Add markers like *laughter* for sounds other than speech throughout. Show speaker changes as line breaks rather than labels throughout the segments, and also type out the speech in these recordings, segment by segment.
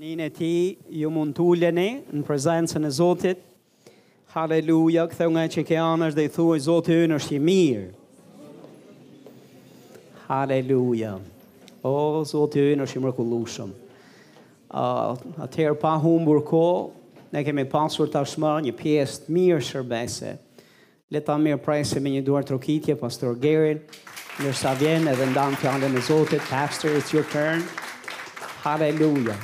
Njën e ti, ju mund t'ulleni në prezencën e Zotit. Haleluja, këthe nga që ke anësh dhe i thuaj, Zotit ynë është i mirë. Haleluja. O, Zotit ynë është i mrekullueshëm. Uh, atëherë pa humbur kohë, ne kemi pasur tashmë një pjesë të mirë shërbese. Le ta mirë prajse me një duar trokitje, pastor Gerin, nërsa vjen edhe ndanë fjallën e Zotit, pastor, it's your turn. Haleluja.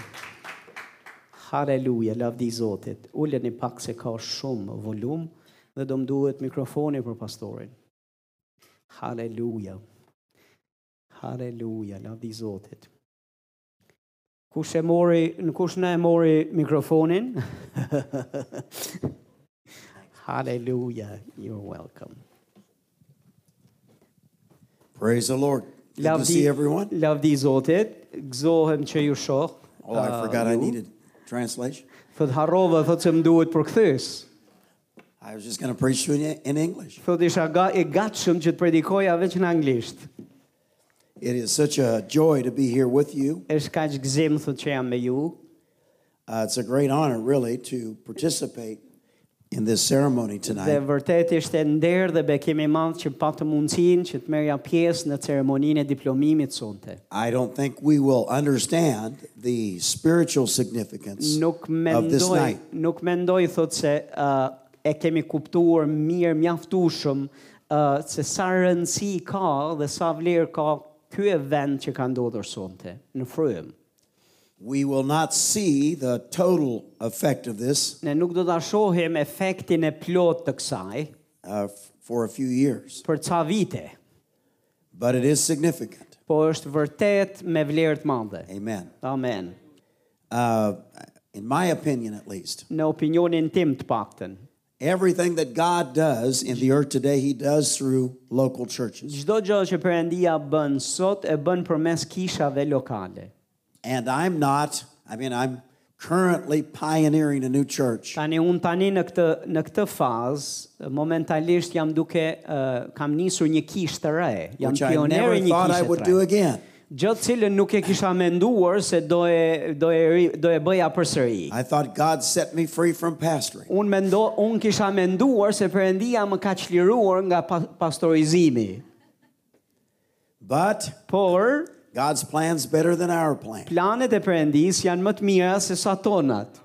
Haleluja, lavdi Zotit. Ulleni pak se ka shumë volum dhe do më duhet mikrofoni për pastorin. Haleluja. Haleluja, lavdi Zotit. Kush e mori, në kush në e mori mikrofonin? *laughs* Haleluja, you're welcome.
Praise the Lord. Good to see everyone.
Lavdi Zotit, gëzohem që ju shoh. Ah,
Oh, I forgot I needed translation.
Thot harrova, thot se më duhet për këthys.
I was just going to preach to you in- in English.
Thot isha ga, e gatshëm që të predikoja veç në anglisht.
It is such a joy to be here with you.
Është kaq gëzim thot që jam me ju.
Uh, it's a great honor, really, to participate in this ceremony
Dhe
tonight.
vërtet ishte nder dhe bekim i madh që patë mundësinë që të merja pjesë në ceremoninë e diplomimit sonte.
I don't think we will understand the spiritual significance
Nuk
of this
mendoj,
night.
nuk mendoj thot se uh, e kemi kuptuar mirë mjaftueshëm uh, se sa rëndësi ka dhe sa vlerë ka ky event që ka ndodhur sonte në frym.
We will not see the total effect of this
Ne nuk do ta shohim efektin e plot të kësaj
uh, f- for a few years,
për ca vite,
but it is significant.
po është vërtet me vlerë të madhe.
Amen.
Amen.
Uh, in my opinion, at least.
Në opinionin tim të paktën,
Everything that God does in the earth today, He does through local churches.
çdo gjë që Perëndia bën sot e bën përmes kishave lokale.
And I'm not, I mean, I'm currently pioneering a new church.
Tani un tani në këtë në këtë fazë momentalisht jam duke uh, kam nisur një kishë të re, jam
Which I never
pioner i një
thought I
kishë
would
të
do
re.
again.
Gjë të cilën nuk e kisha menduar se do e do e ri- do e bëja përsëri.
I thought God set me free from pastoring.
Unë mendo, unë kisha menduar se Perëndia më ka çliruar nga pa, pastorizimi.
But
Por
God's plan's better than our plan.
planet e Perëndis janë më të mira se sa tonat.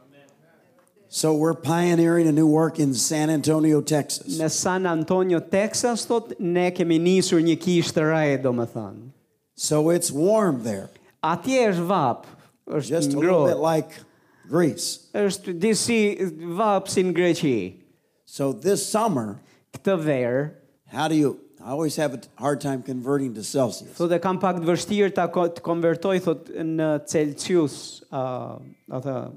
So we're pioneering a new work in San Antonio, Texas.
Në San Antonio, Texas, thot, ne kemi nisur një kishë të re, do më thënë.
So it's warm there,
Atje është vap, është
just a little bit
ngrohtë,
like Greece.
është disi vap si në Greqi.
So this summer,
Këtë verë,
how do you? I always have a t- hard time converting to Celsius.
thot e kam pak të vështirë ta ko- të konvertoj, thot, në Celsius, uh, atë,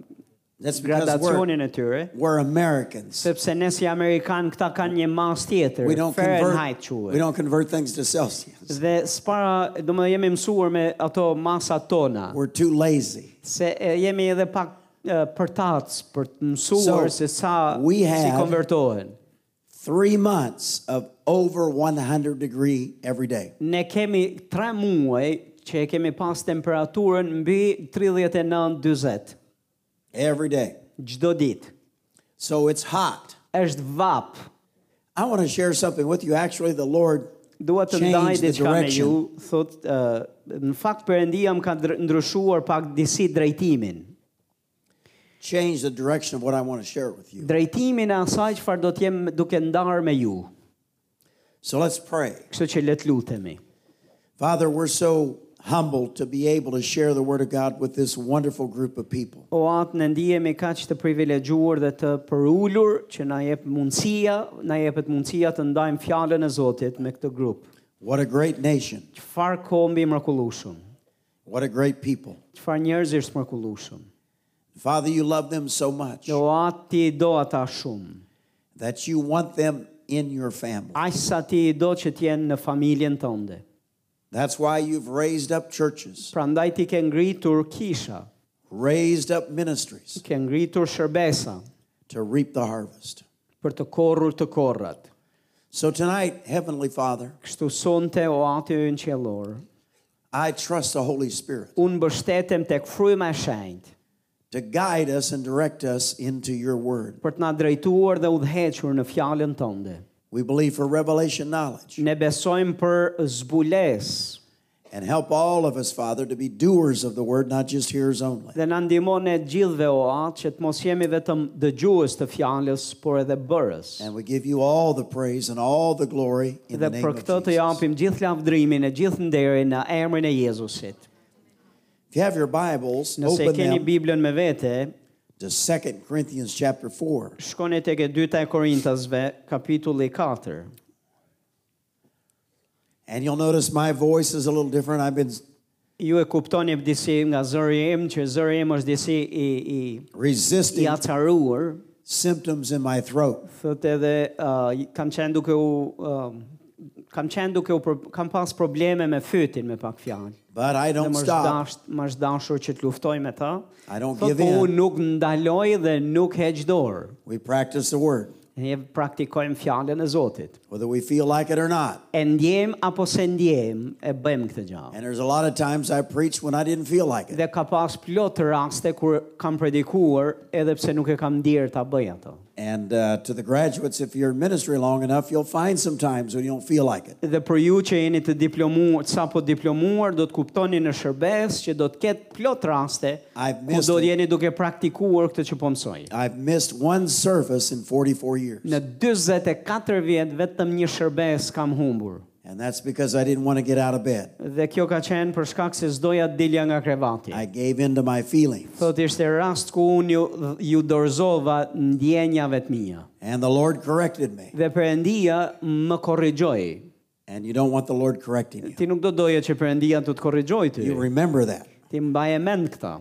That's because we're,
gradacionin e tyre.
we're Americans.
sepse ne si amerikan këta kanë një mas tjetër,
We don't
Fahrenheit
convert. We
quhet.
don't convert things to Celsius.
Dhe spara, do më jemi mësuar me ato masat tona,
We're too lazy.
se e, jemi edhe pak e, përtac për të mësuar
So,
se sa
we
si
have-
konvertohen.
Three months of over 100 degree every day.
Ne kemi 3 muaj që e kemi pas temperaturën mbi 39-40
Every day.
çdo ditë.
So it's hot.
Është vap.
I want to share something with you. Actually, the Lord
Dua të ndaj
changed the
diçka me ju,
direction.
thot ë, në fakt Perëndia më ka dr- ndryshuar pak disi drejtimin.
Changed the direction of what I want to share with you.
drejtimin e asaj çfarë do të jem duke ndarë me ju.
So let's pray.
Kështu që le të lutemi.
Father, we're so humbled to be able to share the Word of God with this wonderful group of people.
O atë në ndihemi kaq të privilegjuar dhe të përulur që na jep mundësia, na jepet mundësia të ndajmë fjalën e Zotit me këtë grup.
What a great nation.
Çfarë kombi mrekullueshëm.
What a great people.
Çfarë njerëzish mrekullueshëm.
Father, you love them so much.
Dhe O atë ti i do ata shumë.
that you want them in your family.
Aq sa ti i do që të jenë në familjen tënde.
That's why you've raised up churches,
Prandaj ti ke ngritur kisha,
raised up ministries
ke ngritur shërbesa
to reap the harvest.
për të korrur të korrat.
So tonight, Heavenly Father,
Kështu sonte o atë ynë qellor.
I trust the Holy Spirit
Unë mbështetem tek fryma e shenjtë
to guide us and direct us into your word.
për të na drejtuar dhe udhëhequr në fjalën tënde.
We believe for revelation knowledge
Ne besojmë për zbulesë
and help all of us, Father, to be doers of the word, not just hearers only.
Dhe na ndihmon e gjithëve o atë që të mos jemi vetëm dëgjues të fjalës, por edhe bërës.
And we give you all the praise and all the glory
Dhe
in the name
për
of
këtë të
Jesus.
japim gjithë lavdrimin e gjithë nderin në emrin e Jezusit.
If you have your Bibles,
Nëse e
open
keni
them
Biblën me vete,
to 2 Corinthians chapter 4.
shkoni tek e dyta e Korintasve, kapitulli 4.
And you'll notice my voice is a little different. I've been
Ju e kuptoni disi nga zëri im që zëri im është disi i i i
resisting
acaruar,
symptoms in my throat.
thotë edhe uh, kam qenë duke u uh, kam qenë duke u pro- kam pas probleme me fytin me pak fjalë.
But I
dhe
don't
më është
stop.
dash- më është dashur që të luftoj me ta.
I don't
Thotë,
give
po
in.
unë nuk ndaloj dhe nuk heq dorë.
We practice the word,
Ne praktikojmë fjalën e Zotit.
whether we feel like it or not.
E ndjem apo se ndjem, e bëjmë këtë gjë.
And there's a lot of times I preach when I didn't feel like it.
Dhe ka pas plot raste kur kam predikuar edhe pse nuk e kam ndier ta bëj ato.
And uh, to the graduates, if you're in ministry long enough, you'll find some times when you don't feel like it.
Dhe për ju që jeni të diplomuar, sapo diplomuar, do të kuptoni në shërbes që do të ketë plot raste
I've
ku
missed
do të
it.
jeni duke praktikuar këtë që po mësoj.
I've missed one service in 44 years.
Në 44 vjet vetëm një shërbes kam humbur.
And that's because I didn't want to get out of bed.
Dhe kjo ka qenë për shkak se s'doja të dilja nga krevati.
I gave in to my feelings.
Thot ishte rast ku unë ju, ju dorëzova ndjenjave të mia.
And the Lord corrected me.
Dhe Perëndia më korrigjoi.
And you don't want the Lord correcting you.
Ti nuk do doje që Perëndia të të korrigjoj ty.
You remember that.
Ti mbaje mend këtë.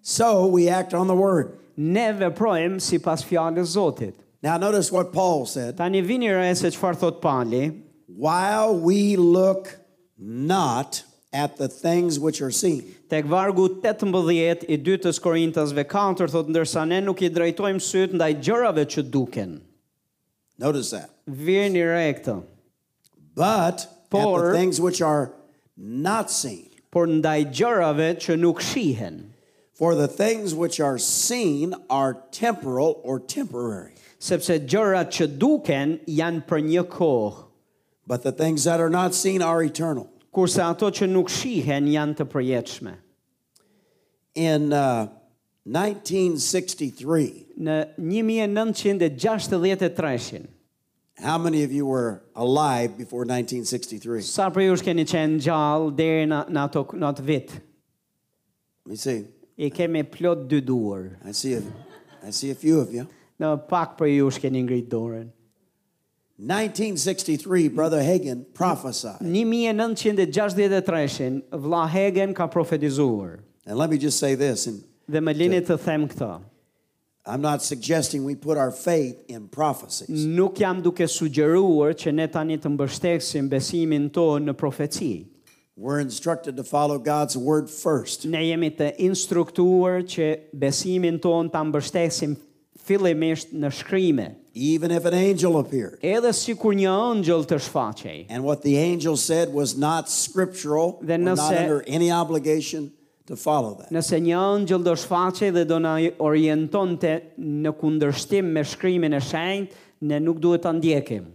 So we act on the word.
Ne veprojmë sipas fjalës Zotit.
Now notice what Paul said.
Tani vini re se çfarë thot Pali.
While we look not at the things which are seen,
Tek vargu 18 i 2 Korintasve 4 thot ndërsa ne nuk i drejtojmë syt ndaj gjërave që duken.
notice that.
Vini re këtë.
But at the
Por-
things which are not seen.
por ndaj gjërave që nuk shihen,
For the things which are seen are temporal or temporary,
sepse gjërat që duken janë për një kohë,
but the things that are not seen are eternal.
kurse ato që nuk shihen janë të përjetshme.
In uh, 1963,
Në 1963,
how many of you were alive before 1963? Let
sa për ju keni qenë gjallë deri në, në, ato, në atë vit,
me see.
i kemi plot dy duar.
I see a, I see a few of you.
Në pak për ju keni ngritë dorën.
1963, Brother Hagen prophesied.
1963, vlla Hegen ka profetizuar.
And let me just say this, and
Dhe më lini të them këtë.
I'm not suggesting we put our faith in prophecies.
Nuk jam duke sugjeruar që ne tani të mbështeksim besimin tonë në profeci.
We're instructed to follow God's word first.
Ne jemi të instruktuar që besimin tonë ta mbështesim fillimisht në shkrime.
even if an angel appeared.
Edhe sikur një ëngjëll të shfaqej.
And what the angel said was not scriptural,
Then
we're
no
not
se-
under any obligation to follow that.
Nëse një ëngjëll do shfaqej dhe do na orientonte në kundërshtim me shkrimin e shenjtë, ne nuk duhet ta ndjekim.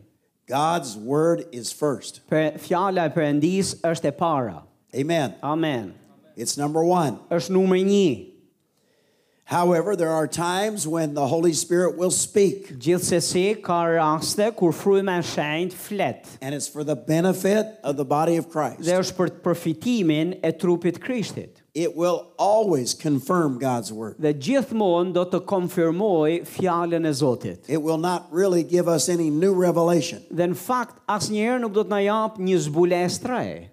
God's word is first.
Për fjala e Perëndis është e para.
Amen.
Amen.
It's number one.
Është numri 1.
However, there are times when the Holy Spirit will speak,
Gjithsesi ka raste kur fryma e shenjtë flet
and it's for the benefit of the body of Christ.
dhe është për përfitimin e trupit Krishtit.
It will always confirm God's word.
Dhe gjithmonë do të konfirmoj fjalën e Zotit.
It will not really give us any new revelation.
Dhe në fakt asnjëherë nuk do të na jap një zbulesë të re.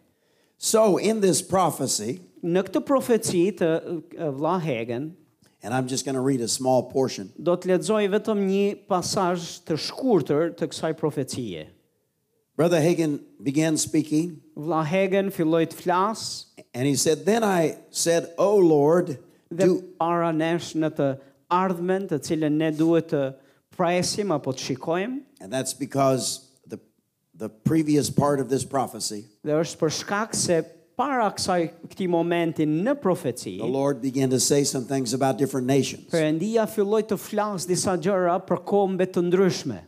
So, in this prophecy,
Në këtë profeci të e, vlla Hegen
and I'm just going to read a small portion.
do të lexoj vetëm një pasazh të shkurtër të kësaj profecie.
Brother Hagin began speaking,
Vlla Hegen filloi të flasë
And he said, Then I said, O Lord,
dhe
do,
para nesh në të ardhmen të cilën ne duhet të presim apo të shikojmë
and that's because the, the previous part of this prophecy
dhe është për shkak se para kësaj këtij momenti në profeci,
the Lord began to say some things about different nations.
Perëndia filloi të flas disa gjëra për kombe të ndryshme.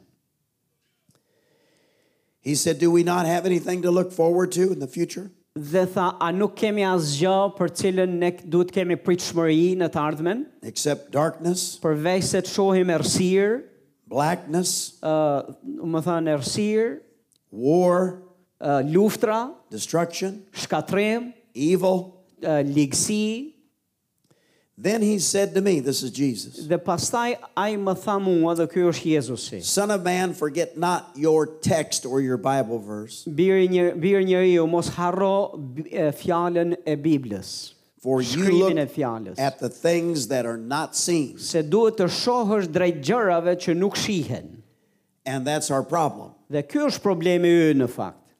He said, Do we not have anything to look forward to in the future?
Dhe tha, a nuk kemi asgjë për cilën ne duhet kemi pritshmëri në të ardhmen,
Except darkness,
përveç se të shohim errësirë,
blackness,
Uh, ë, më thënë errësirë,
war,
ë, luftra,
destruction,
shkatrim,
evil.
ë, ligësi,
Then he said to me, This is Jesus,
dhe pastaj ai më tha mua dhe ky është Jezusi.
Son of man, forget not your text or your Bible verse,
Biri një biri njeriu mos harro b- e, fjalën e Biblës.
for you
Shkrimin e
look
fjalës.
at the things that are not seen.
Se duhet të shohësh drejt gjërave që nuk shihen.
And that's our problem.
Dhe ky është problemi ynë në fakt,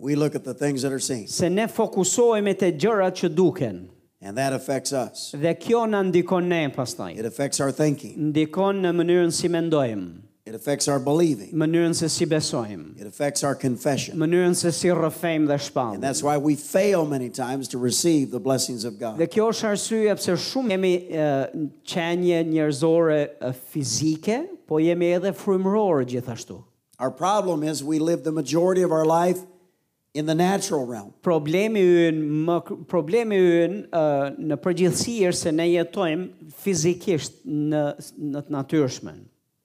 We look at the things that are seen,
se ne fokusohemi te gjërat që duken.
and that affects us.
Dhe kjo na ndikon ne pastaj.
It affects our thinking,
Ndikon në mënyrën si mendojmë,
it affects our believing,
mënyrën se si besojmë,
it affects our confession.
mënyrën se si rrëfejmë dhe
And
shpallim.
that's why we fail many times to receive the blessings of God.
Dhe kjo është arsyeja pse shumë jemi e, qenje njerëzore e, fizike, po jemi edhe frymërorë gjithashtu.
Our problem is we live the majority of our life in the natural realm.
Problemi ynë, më problemi ynë e, në përgjithësi është se ne jetojmë fizikisht në në të natyrshmen.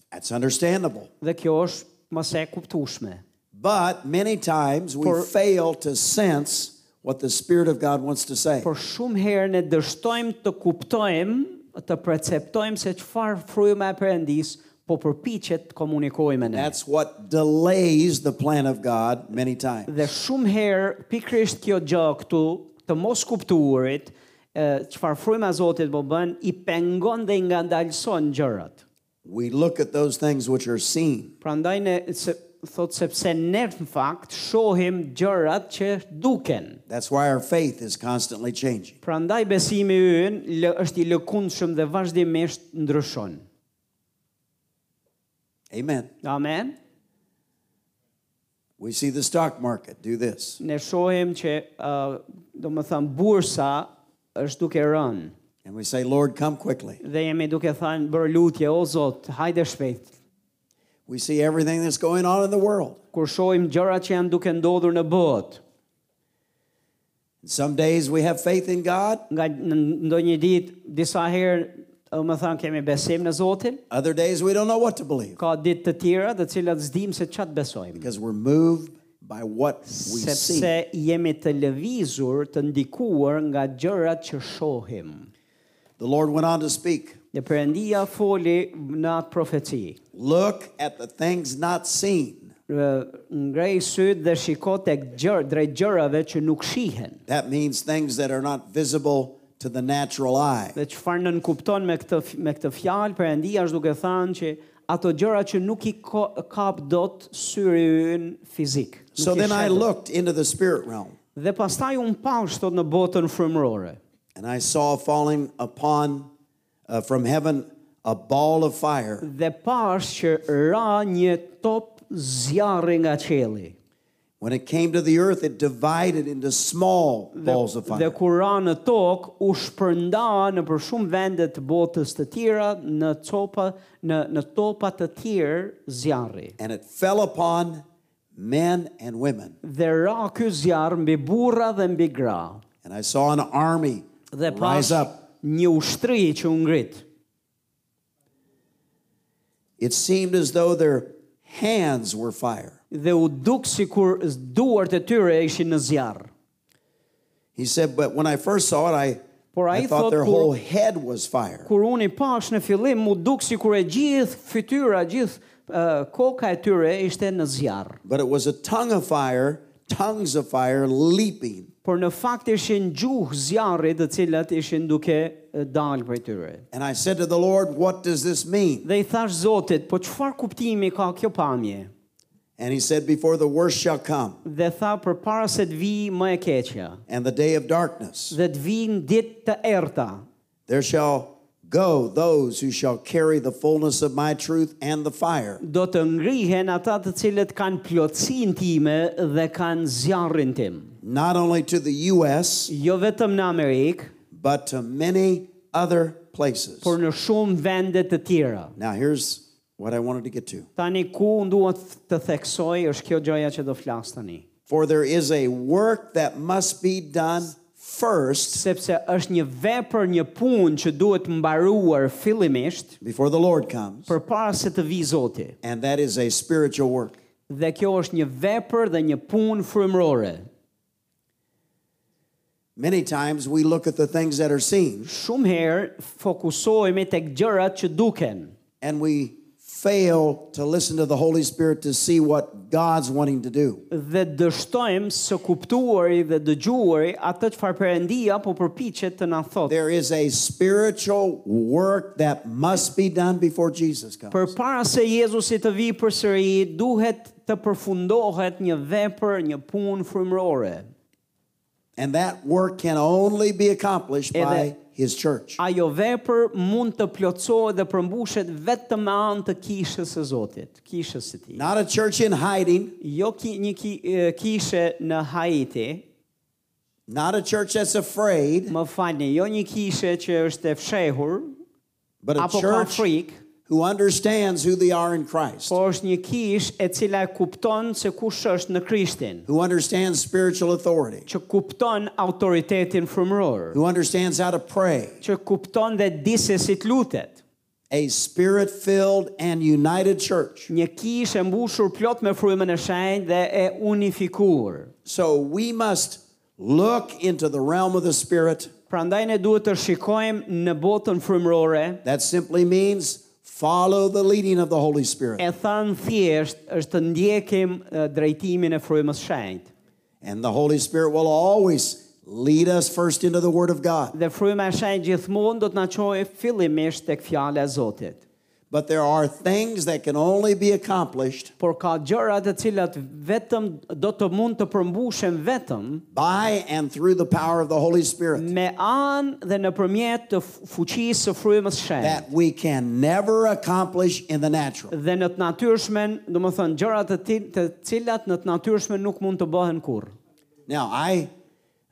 That's understandable.
Dhe kjo është mos e kuptueshme.
But many times we
For-
fail to sense what the Spirit of God wants to say.
Por shumë herë ne dështojmë të kuptojmë, të perceptojmë se çfarë fryma e Perëndis po përpiqet të komunikojë me ne.
That's what delays the plan of God many times.
Dhe shumë herë pikrisht kjo gjë këtu të mos kuptuarit, e, çfarë fryma e Zotit po bën, i pengon dhe i ngandalson gjërat.
We look at those things which are seen.
Prandaj ne se, thot sepse ne në fakt shohim gjërat që duken.
That's why our faith is constantly changing.
Prandaj besimi ynë lë, është i lëkundshëm dhe vazhdimisht ndryshon.
Amen.
Amen.
We see the stock market do this,
Ne shohim që uh, do më thëmë bursa është duke rënë
and we say, Lord, come quickly.
dhe jemi duke thënë bërë lutje o Zot, hajde shpejt.
We see everything that's going on in the world.
kur shohim gjërat që janë duke ndodhur në botë.
And some days we have faith in God,
Nga në- ndonjë ditë, disa herë, ë, më thënë, kemi besim në Zotin,
other days we don't know what to believe
ka ditë të tjera të cilat zdim se qatë besojmë.
because we're moved by what we see.
Sepse jemi të lëvizur, të ndikuar nga gjërat që shohim.
The Lord went on to speak
Dhe përëndia foli në atë profeci.
Look at the things not seen.
Ë, Ngrej sytë dhe shiko tek gjërë, drejt gjërave që nuk shihen.
That means things that are not visible to the natural eye.
Dhe çfarë nën kupton me këtë me këtë fjalë, Perëndia është duke thënë që ato gjëra që nuk i ko- kap dot syri ynë fizik. nuk
So
i
then I
sheh dot.
looked into the spirit realm
Dhe pastaj un pa shtot në botën frymërore.
and I saw falling upon uh, from heaven a ball of fire
Dhe pash që ra një top zjarri nga qelli.
When it came to the earth, it divided into small
Dhe,
balls of
dhe
fire.
kur ra në tokë, u shpërnda në për shumë vende të botës të tjera në copa në në topa të tjerë zjarri.
And it fell upon men and women.
Dhe ra ky zjarr mbi burra dhe mbi gra.
And I saw an army
dhe
rise
pas
up.
një ushtri që u ngrit.
It seemed as though their hands were fire.
Dhe u duk si kur duart e tyre ishin në zjarë.
He said, But when I first saw it, I,
Por
I
ai
thought
thot
their
kur-
whole head was fire.
Kur unë i pash në fillim, u duk si kur e gjithë fytyra, gjithë uh, koka e tyre ishte në zjarë.
But it was a tongue of fire, tongues of fire leaping.
Por në fakt ishin gjuhë zjarri të cilat ishin duke eh, dalë për tyre.
And I said to the Lord, What does this mean?
Dhe i thash Zotit, po qëfar kuptimi ka kjo pamje?
And he said, Before the worst shall come,
Dhe tha për para se të vi më e keqja,
and the day of darkness,
dhe të vi në ditë të erta,
there shall Go, those who shall carry the fullness of my truth and the fire.
do të ngrihen ata të cilët kanë plotësinë time dhe kanë zjarrin tim.
Not only to the U.S.,
Jo vetëm në Amerikë,
but to many other places.
por në shumë vende të tjera.
Now, here's what I wanted to get to.
Tani ku unë duhet të theksoj është kjo gjoja që do flas tani,
For there is a work that must be done first
sepse është një vepër, një punë që duhet mbaruar fillimisht
before the Lord comes,
përpara se të vi Zoti.
and that is a spiritual work.
Dhe kjo është një vepër dhe një punë frymërore.
Many times we look at the things that are seen
Shumë herë fokusohemi tek gjërat që duken
and we fail to listen to the Holy Spirit to see what God's wanting to do.
dhe dështojmë së kuptuari dhe dëgjuari atë çfarë Perëndia po përpiqet të na thotë.
There is a spiritual work that must be done before Jesus comes.
Për para se Jezusi të vi për sëri, duhet të përfundohet një vepër, një punë frymërore.
and that work can only be accomplished
Edhe-
by his church.
Ajo vepër mund të plotësohet dhe përmbushet vetëm me anë të kishës së Zotit, kishës së Tij.
Not a church in hiding,
Jo ki, një ki, e, kishe në Haiti,
not a church that's afraid,
më falni, jo një kishe që është e fshehur
but a
apo ka
church
frikë,
who understands who they are in Christ,
po është një kish e cila e kupton se kush është në Krishtin,
who understands spiritual authority,
që kupton autoritetin frymëror,
who understands how to pray.
që kupton dhe di se si të lutet.
A spirit filled and united church.
Një kish e mbushur plot me frymën e shenjtë dhe e unifikuar.
So we must look into the realm of the spirit.
Prandaj ne duhet të shikojmë në botën frymërore,
That simply means follow the leading of the Holy Spirit.
e thënë thjesht është të ndjekim e, drejtimin e frymës shenjtë.
And the Holy Spirit will always lead us first into the Word of God.
Dhe fryma e shenjtë gjithmonë do të na çojë fillimisht tek fjala e Zotit.
But there are things that can only be accomplished
por ka gjëra të cilat vetëm do të mund të përmbushen vetëm
by and through the power of the Holy Spirit
me anë dhe nëpërmjet të fu- fuqisë së frymës shenjtë.
that we can never accomplish in the natural.
Dhe në të natyrshmen, do më thënë, gjëra të, til- të cilat në të natyrshmen nuk mund të bëhen kurrë.
Now, I,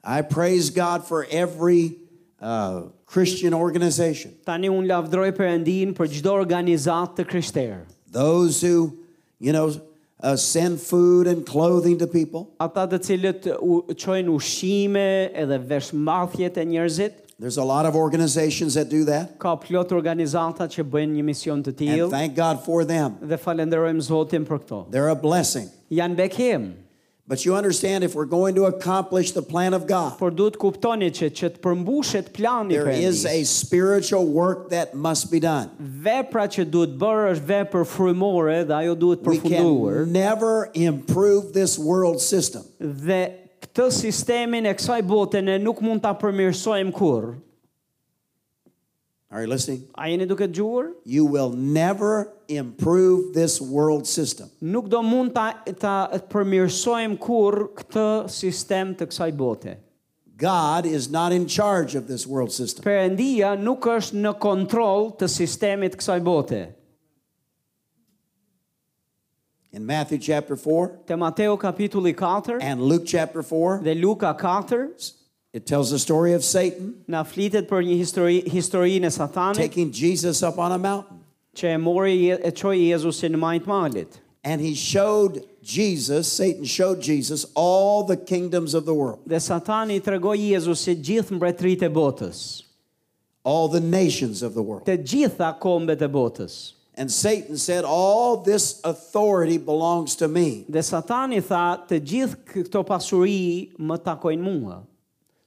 I praise God for every uh, Christian organization,
Tani unë lavdroj Perëndin për çdo organizat të krishterë.
those who, you know, uh, send food and clothing to people.
Ata të cilët u çojnë ushqime edhe veshmbathjet e njerëzit,
There's a lot of organizations that do that,
ka plot organizata që bëjnë një mision të
and
tillë
thank God for them.
dhe falenderojmë Zotin për këto.
They're a blessing.
Janë bekim.
But you understand if we're going to accomplish the plan of God,
por duhet kuptoni që që të përmbushet plani
there is
Perëndis.
a spiritual work that must be done.
Vepra që duhet bërë është vepër frymore dhe ajo duhet
We
përfunduar
can never improve this world system
dhe këtë sistemin e kësaj bote ne nuk mund ta përmirësojmë kurrë.
Are you listening?
A jeni duke dëgjuar?
You will never improve this world system.
Nuk do mund ta ta përmirësojmë kurrë këtë sistem të kësaj bote.
God is not in charge of this world system.
Perëndia nuk është në kontroll të sistemit kësaj bote.
In Matthew chapter 4
Te Mateu kapitulli 4
and Luke chapter 4,
dhe Luka 4
it tells the story of Satan
na flitet për një histori historinë e Satanit
taking Jesus up on a mountain.
që e mori Je- e çoi Jezusin në majt malit.
And he showed Jesus, Satan showed Jesus all the kingdoms of the world.
Dhe Satani i tregoi Jezusit gjithë mbretëritë e botës,
all the nations of the world.
të gjitha kombet e botës.
And Satan said, All this authority belongs to me.
Dhe Satani tha, të gjithë k- këto pasuri më takojnë mua.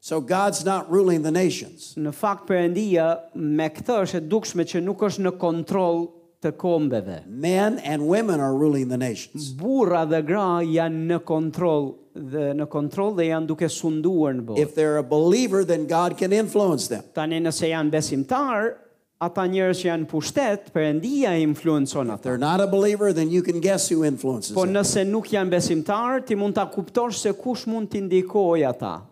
So God's not ruling the nations.
Në fakt Perëndia me këtë është e dukshme që nuk është në kontroll të kombeve.
Men and women are ruling the nations.
Burra dhe gra janë në kontroll dhe në kontroll dhe janë duke sunduar në botë.
If they're a believer, then God can influence them.
Tani nëse janë besimtar, ata njerëz që janë pushtet, Perëndia i influencon
If
ata.
they're not a believer, then you can guess who influences
Po
them.
nëse nuk janë besimtar, ti mund ta kuptosh se kush mund t'i ndikojë ata.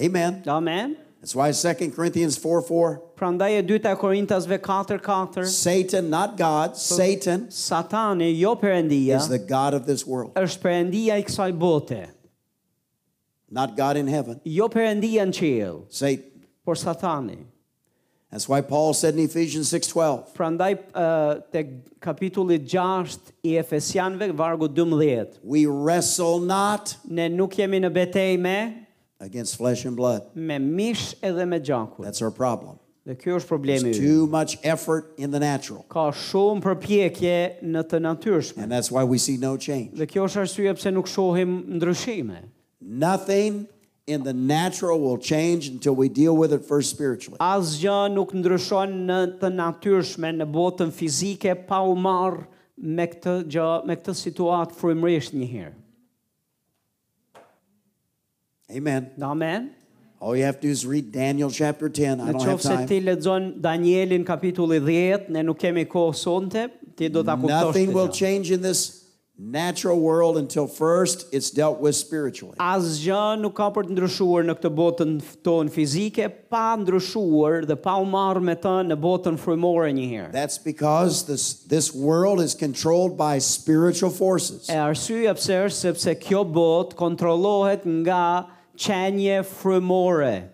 Amen.
Amen.
That's why 2 Corinthians 4 4,
Prandaj e dyta e Korintasve 4:4,
Satan, not God, Satan
Satani, jo Perëndia,
is the God of this world,
është Perëndia i kësaj bote,
not God in heaven.
jo Perëndia në qiell,
Satan.
por Satani.
That's why Paul said in Ephesians six twelve,
Prandaj uh, tek kapitulli 6 i Efesianëve vargu 12,
we wrestle not
ne nuk jemi në betejë me
against flesh and blood.
me mish edhe me gjakun.
That's our problem.
Dhe ky është problemi ynë.
Too much effort in the natural.
Ka shumë përpjekje në të natyrshme.
And that's why we see no change.
Dhe kjo është arsyeja pse nuk shohim ndryshime.
Nothing in the natural will change until we deal with it first spiritually.
Asgjë nuk ndryshon në të natyrshme në botën fizike pa u marr me këtë gjë, me këtë situatë frymërisht një herë.
Amen.
Amen.
All you have to do is read Daniel chapter 10.
Në
I don't have
qoftë se
time.
ti lexon Danielin kapitulli 10, ne nuk kemi kohë sonte, ti do ta kuptosh.
Nothing will
këtë gjë.
change in this natural world until first it's dealt with spiritually.
Asgjë nuk ka për të ndryshuar në këtë botën tonë fizike pa ndryshuar dhe pa u marrë me të në botën frymore një herë.
That's because this, this world is controlled by spiritual forces.
E arsyeja pse është sepse kjo botë kontrollohet nga qenje frymore.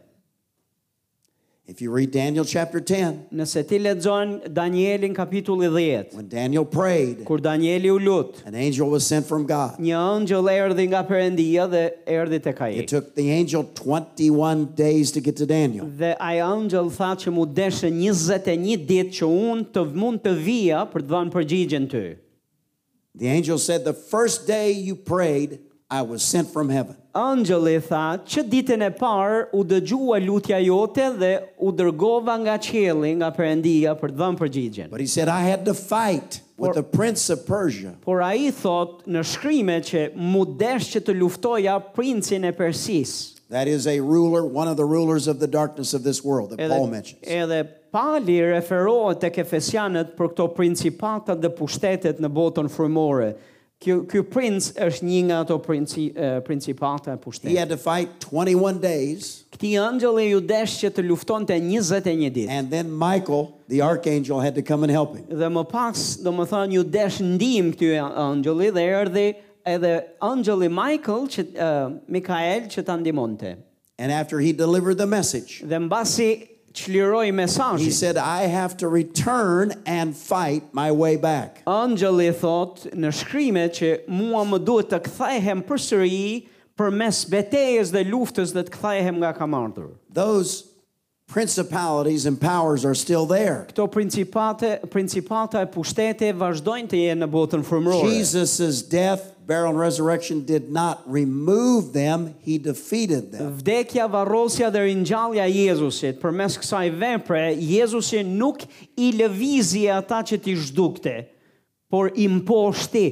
If you read Daniel chapter 10,
Nëse ti lexon Danielin kapitulli 10,
when Daniel prayed,
kur Danieli u lut,
an angel was sent from God.
një ëngjëll erdhi nga Perëndia dhe erdhi tek ai.
It took the angel 21 days to get to Daniel.
Dhe ai ëngjëll tha që mu deshe 21 ditë që unë të mund të vija për të dhënë përgjigjen ty.
The angel said, The first day you prayed, I was sent from heaven.
Ëngjëlli tha që ditën e parë u dëgjua lutja jote dhe u dërgova nga qielli nga Perëndia për të dhënë përgjigjen.
But he said, I had to fight with the prince of Persia.
Por a i thot në shkrime që mu desh që të luftoja princin e Persis.
That is a ruler, one of the rulers of the darkness of this world that Paul mentions.
edhe pali referohet tek efesianët për këto principatat dhe pushtetet në botën frymore. Ky ky princ është një nga ato princi, e, principata e
He
pushtetit.
had to fight 21 days,
Këti ëngjëlli ju desh që të luftonte 21 ditë.
and then Michael, the archangel, had to come and help him.
Dhe më pas, do më thënë, ju desh ndim këty ëngjëlli dhe erdhi edhe ëngjëlli Michael, që, uh, Mikael, që ta ndimonte.
And after he delivered the message,
Dhe mbasi çliroi
he
mesazhin.
said, I have to return and fight my way back.
Angjëlli thot në shkrimet që mua më duhet të kthehem përsëri përmes betejës dhe luftës dhe të kthehem nga kam ardhur.
Those principalities and powers are still there.
Këto principate, principata e pushtete vazhdojnë të jenë në botën frymërore.
Jesus' death, burial, and resurrection did not remove them, he defeated them.
Vdekja, varrosja dhe ringjallja e Jezusit përmes kësaj vepre, Jezusi nuk i lëvizi ata që t'i zhdukte, por i mposhti.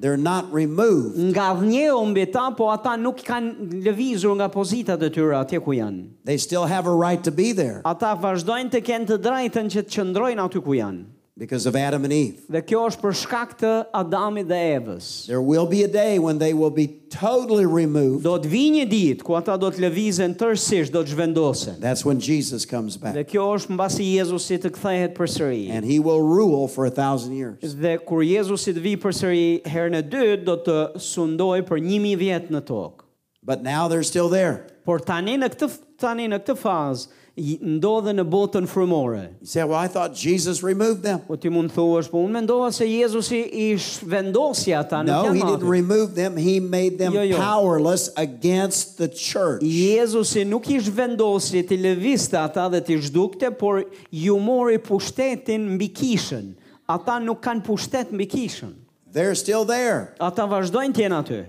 They're not removed,
Nga dhënjeu mbi ta, po ata nuk kanë lëvizur nga pozitat e tyre atje ku janë.
they still have a right to be there
Ata vazhdojnë të kenë të drejtën që të qëndrojnë aty ku janë.
because of Adam and Eve.
Dhe kjo është për shkak të Adamit dhe Evës.
There will be a day when they will be totally removed.
Do të vi një ditë ku ata do të lëvizen tërësisht, do të zhvendosen.
That's when Jesus comes
Dhe
back
kjo është mbasi Jezusi të kthehet përsëri.
and he will rule for a thousand years.
Dhe kur Jezusi të vi përsëri herën e dytë, do të sundoj për 1000 vjet në tokë.
But now they're still there.
Por tani në këtë tani në këtë fazë i- ndodhe në botën frymore.
You say, Well, I thought Jesus removed them.
Po ti mund të thuash, po unë mendova se Jezusi i shvendosi ata në
No, he
kiamat.
didn't remove them. He made them
Yo, yo.
powerless against the church.
Jezusi nuk i zhvendosi të lëviste ata dhe të zhdukte, por ju mori pushtetin mbi kishën. Ata nuk kanë pushtet mbi kishën.
They're still there.
Ata vazhdojnë të jenë aty.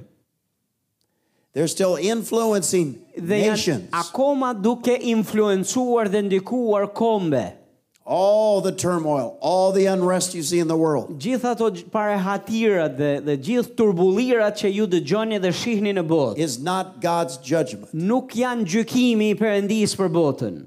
They're still influencing
Dhe janë
nations.
akoma duke influencuar dhe ndikuar kombe.
All the turmoil, all the unrest you see in the world.
Gjithë ato gj- parehatirat dhe, dhe gjithë turbullirat që ju dëgjoni dhe shihni në botë,
is not God's judgment.
nuk janë gjykimi i Perëndisë për botën.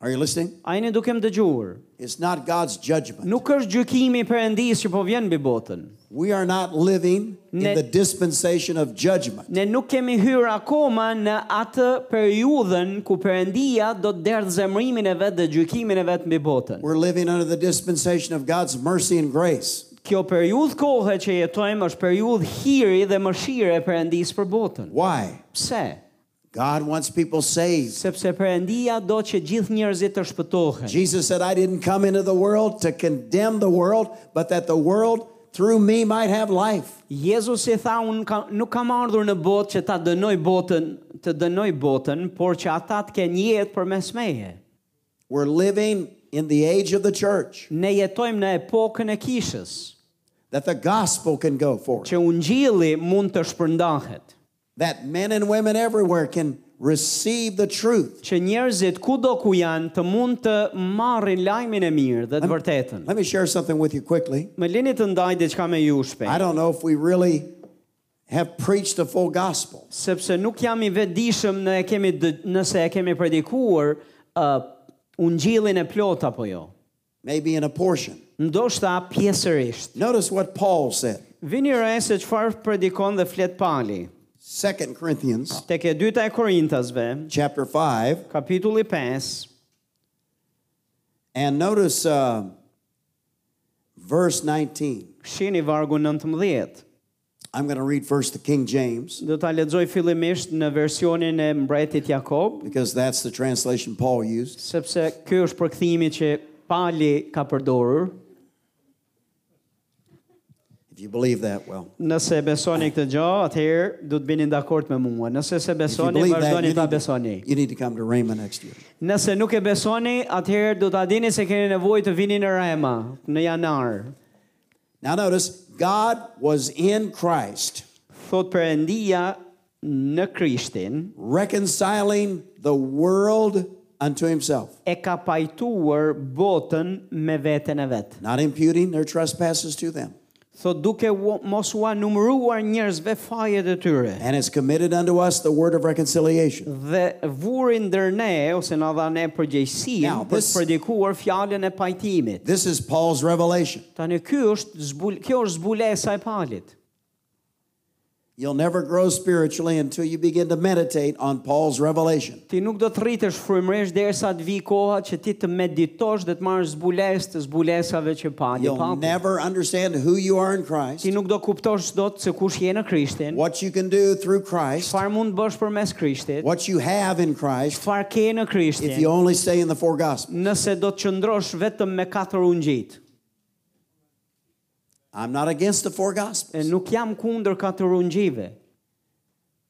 Are you listening?
A jeni duke më dëgjuar?
It's not God's judgment.
Nuk është gjykimi i Perëndisë që po vjen mbi botën.
We are not living
Ne-
in the dispensation of judgment.
Ne nuk kemi hyrë akoma në atë periudhën ku Perëndia do të derdhë zemrimin e vet dhe gjykimin e vet mbi botën.
We're living under the dispensation of God's mercy and grace.
Kjo periudhë kohe që jetojmë është periudhë hiri dhe mëshire e Perëndisë për botën.
Why?
Pse?
God wants people saved.
Sepse Perëndia do që gjithë njerëzit të shpëtohen.
Jesus said, I didn't come into the world to condemn the world, but that the world through me might have life.
Jezusi tha unë ka, nuk kam ardhur në botë që ta dënoj botën, të dënoj botën, por që ata të kenë jetë përmes meje.
We're living in the age of the church
Ne jetojmë në epokën e kishës,
that the gospel can go forth,
që ungjilli mund të shpërndahet,
that men and women everywhere can receive the truth.
që njerëzit kudo ku janë të mund të marrin lajmin e mirë dhe të vërtetën.
Let me share something with you quickly.
Më lini të ndaj diçka me ju
I
shpejt,
don't know if we really have preached the full gospel.
sepse nuk jam i vetëdijshëm në e kemi dë, nëse e kemi predikuar uh, ungjillin e plot apo jo.
maybe in a portion.
Ndoshta pjesërisht.
Notice what Paul said.
Vini re se qëfar predikon dhe flet pali.
2 Corinthians
Tek e dyta e Korintasve,
chapter 5
kapitulli 5,
and notice uh, verse 19.
shini vargu 19.
I'm going to read first the King James
Do ta lexoj fillimisht në versionin e mbretit Jakob,
because that's the translation Paul used.
sepse ky është përkthimi që pali ka përdorur.
If you believe that, well,
Nëse besoni këtë gjë, atëherë do të bini dakord me mua. Nëse se
if you
besoni,
believe that,
vazhdoni
you
ta
need,
besoni.
to, you need to come to Rhema next year.
Nëse nuk e besoni, atëherë do ta dini se keni nevojë të vini në Rema në janar.
Now, notice God was in Christ,
Thot Perëndia në Krishtin,
reconciling the world unto Himself,
e ka pajtuar botën me veten e vet.
not imputing their trespasses to them,
Thot duke u- mos u numëruar njerëzve fajet e tyre
and has committed unto us the word of reconciliation.
dhe vuri ndër ne ose na dha ne përgjegjësinë
Now,
për të
this-
predikuar fjalën e pajtimit.
This is Paul's revelation.
Tani ky është zbul, kjo është zbulesa e palit.
You'll never grow spiritually until you begin to meditate on Paul's revelation.
Ti nuk do të rritesh frymërisht derisa të vi koha që ti të meditosh dhe të marrësh zbulesë të zbulesave që pali
You'll
papu.
never understand who you are in Christ,
Ti nuk do kuptosh dot se kush je në Krishtin,
what you can do through Christ,
çfarë mund bësh përmes Krishtit,
what you have in Christ
çfarë ke në Krishtin.
if you only stay in the four gospels.
nëse do të qëndrosh vetëm me katër ungjit.
I'm not against the four
E
gospels.
nuk jam kundër katër ungjive.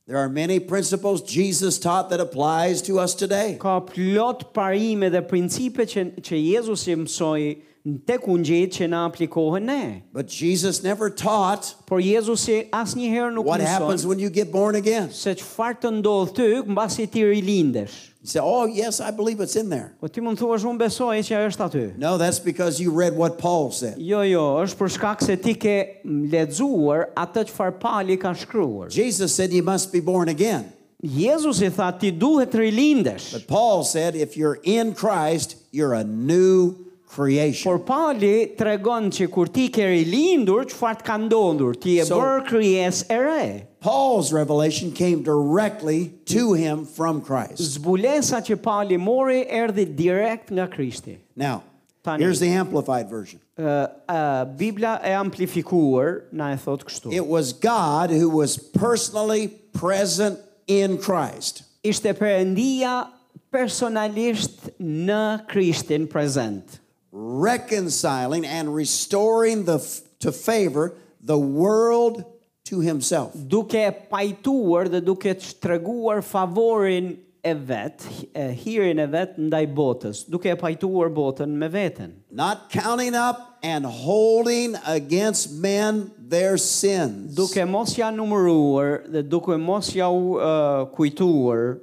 There are many principles Jesus taught that applies to us today.
Ka plot parime dhe principe që, që Jezusi mësoi në tek ungjit që na aplikohen ne.
But Jesus never taught
Por Jezusi asnjëherë nuk
what happens
mëson
when you get born again.
se çfarë të ndodh ty mbasi ti rilindesh.
You say, "Oh, yes, I believe it's in there."
Po ti mund thuash unë besoj që ajo është aty.
No, that's because you read what Paul said.
Jo, jo, është për shkak se ti ke lexuar atë çfarë Pali ka shkruar.
Jesus said you must be born again.
Jezusi tha ti duhet të rilindesh.
But Paul said, if you're in Christ, you're a new creation.
Por Pali tregon që kur ti ke rilindur, çfarë të ka ndodhur? Ti e
So-
bërë krijes e re.
Paul's revelation came directly to him from Christ.
Zbulesa që Pali mori erdhi direkt nga Krishti.
Now,
Tani.
here's the amplified version.
Ë ë, Bibla e amplifikuar na e thot kështu.
It was God who was personally present in Christ.
Ishte Perëndia personalisht në Krishtin prezent,
Reconciling and restoring the to favor the world to himself.
duke e pajtuar dhe duke të treguar favorin e vet, e hirin e vet ndaj botës, duke e pajtuar botën me veten.
Not counting up and holding against men their sins.
duke mos ja numëruar dhe duke mos ja u uh, kujtuar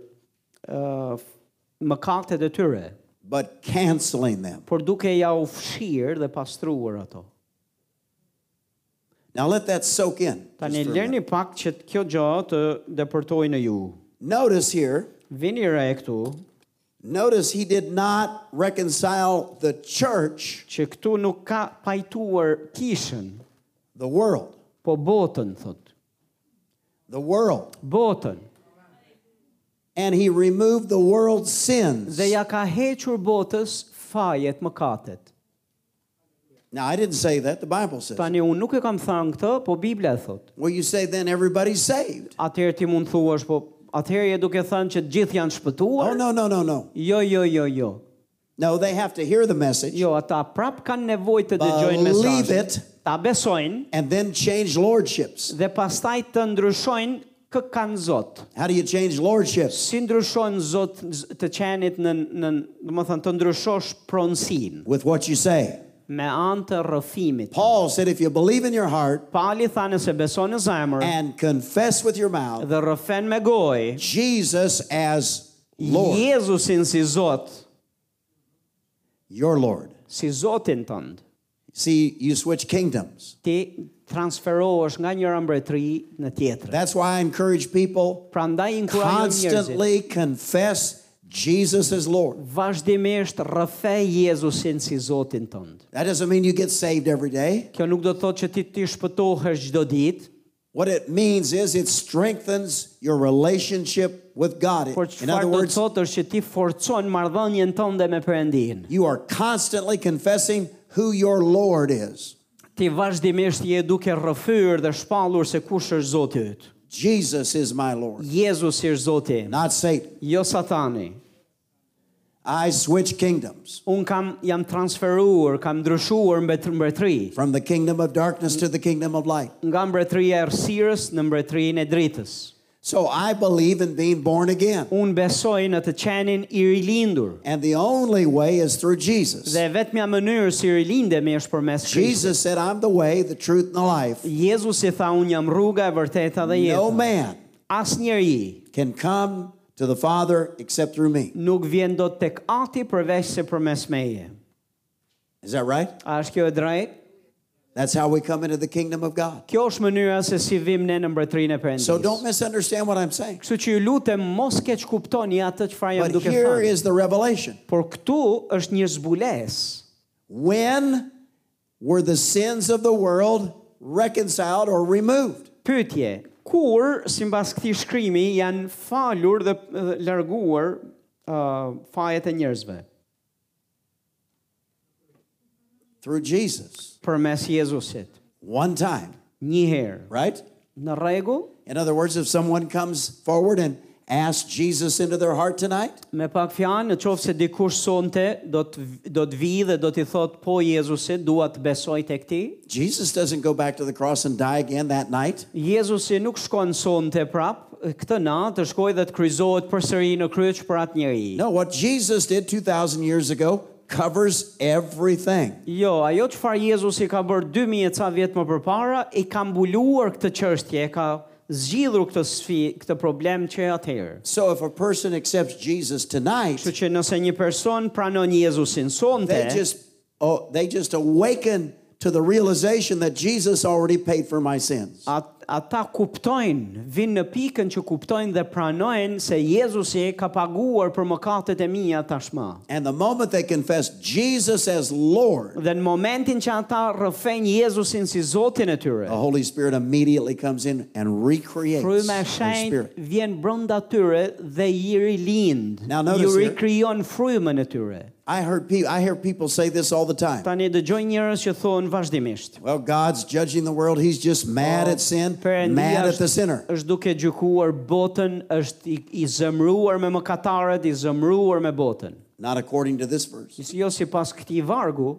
uh, mëkatet e tyre,
but canceling them.
por duke ja u fshirë dhe pastruar ato.
Now let that soak in.
Tani
just for a minute.
lërni pak që kjo gjë të depërtoj në ju.
Notice here,
Vini re këtu,
Notice he did not reconcile the church,
që këtu nuk ka pajtuar kishën,
the world,
po botën, thot.
the world.
Botën.
And he removed the world's sins.
Dhe ja ka hequr botës fajet mëkatet.
Now, I didn't say that. The Bible says.
Tani unë nuk e kam thënë këtë, po Biblia e thot.
Well, you say then everybody's saved.
Atëherë ti mund thuash, po atëherë je duke thënë që të gjithë janë
Oh,
shpëtuar?
no, no, no, no.
Jo, jo, jo, jo.
No, they have to hear the message
Jo, ata prap kanë nevojë të dëgjojnë
Believe
mesazhin. Ta besojnë
and then change lordships.
dhe pastaj të ndryshojnë kë kanë Zot.
How do you change lordships?
Si ndryshon Zot z- të qenit në në do të thënë të ndryshosh pronësinë
With what you say.
me anë të rrëfimit.
Paul said, if you believe in your heart
Pali tha nëse beson në zemër
and confess with your mouth
dhe rrëfen me gojë
Jesus as Lord,
Jezusin si Zot,
your Lord.
si Zotin tënd,
See, you switch kingdoms.
ti transferohesh nga njëra mbretëri në tjetrën.
That's why I encourage people
Prandaj inkurajon njerëzit
constantly confess Jesus as Lord.
vazhdimisht rrëfe Jezusin si Zotin tënd.
That doesn't mean you get saved every day.
Kjo nuk do të thotë që ti ti shpëtohesh çdo ditë,
What it means is it strengthens your relationship with God.
por
In other
çfarë do të
words,
thotë është që ti forcon marrëdhënien tënde me Perëndin.
you are constantly confessing who your Lord is.
Ti vazhdimisht je duke rrëfyer dhe shpallur se kush është Zoti yt.
Jesus is my Lord,
Jezusi është Zoti im,
not Satan.
jo Satani.
I switch kingdoms
Un kam jam transferuar, kam ndryshuar mbet- mbretëri
from the kingdom of darkness to the kingdom of light.
nga mbretëria e errësirës në mbretërinë e dritës.
So I believe in being born again.
Un besoj në të qenin i rilindur.
And the only way is through Jesus.
Dhe vetëmja mënyrë si rilindemi është përmes Krishtit.
Jesus said, I'm the way, the truth, and the life.
Jezusi tha unë jam rruga e vërteta dhe jeta.
No man
As njeri
can come to the Father except through me.
nuk vjen do të tek ati përveç se përmes meje.
Is that right?
A është kjo e drejtë?
That's how we come into the kingdom of God.
Kjo është mënyra se si vim ne në mbretërinë e Perëndis.
So don't misunderstand what I'm saying.
Kështu që ju lutem mos keq kuptoni atë çfarë jam
But
duke
here
thënë.
is the revelation.
Por këtu është një zbulesë.
When were the sins of the world reconciled or removed?
Pyetje, kur sipas këtij shkrimi janë falur dhe dhe larguar uh, fajet e njerëzve
Through Jesus.
përmes Jezusit?
One time,
Një herë.
right?
Në rregull?
In other words, if someone comes forward and asks Jesus into their heart tonight,
Me pak fjanë, në qoftë se dikush sonte do të do të vijë dhe do t'i thotë po Jezusit, dua të besoj tek ti.
Jesus doesn't go back to the cross and die again that night.
Jezusi nuk shkon sonte prap, këtë natë të shkoj dhe të kryzohet përsëri në kryq për atë njeri.
No, what Jesus did 2,000 years ago covers everything.
Jo, ajo çfarë Jezusi ka bërë 2000 e ca vjet më përpara, i ka mbuluar këtë çështje, e ka zgjidhur këtë sfi, këtë problem që e atëherë.
So if a person accepts Jesus tonight,
Kështu që nëse një person pranon Jezusin sonte,
they just oh, they just awaken to the realization that Jesus already paid for my sins.
At, ata kuptojnë, vinë në pikën që kuptojnë dhe pranojnë se Jezusi ka paguar për mëkatet e mia tashmë.
And the moment they confess Jesus as Lord,
Dhe në momentin që ata rrëfejnë Jezusin si Zotin e tyre,
the Holy Spirit immediately comes in and recreates
fryma
their
e shenjtë
spirit.
vjen brenda tyre dhe i rilind,
Now, notice
ju
here-
rikrijon frymën e tyre.
I heard pe- I hear people say this all the time.
Tani dëgjoj njerëz që thonë vazhdimisht.
Well, God's judging the world. He's just mad
Oh,
at sin,
Perëndia
mad at
është-
the sinner.
Është duke gjykuar botën, është i, i zëmruar me mëkatarët, i zëmruar me botën.
Not according to this verse.
Jo sipas këtij vargu,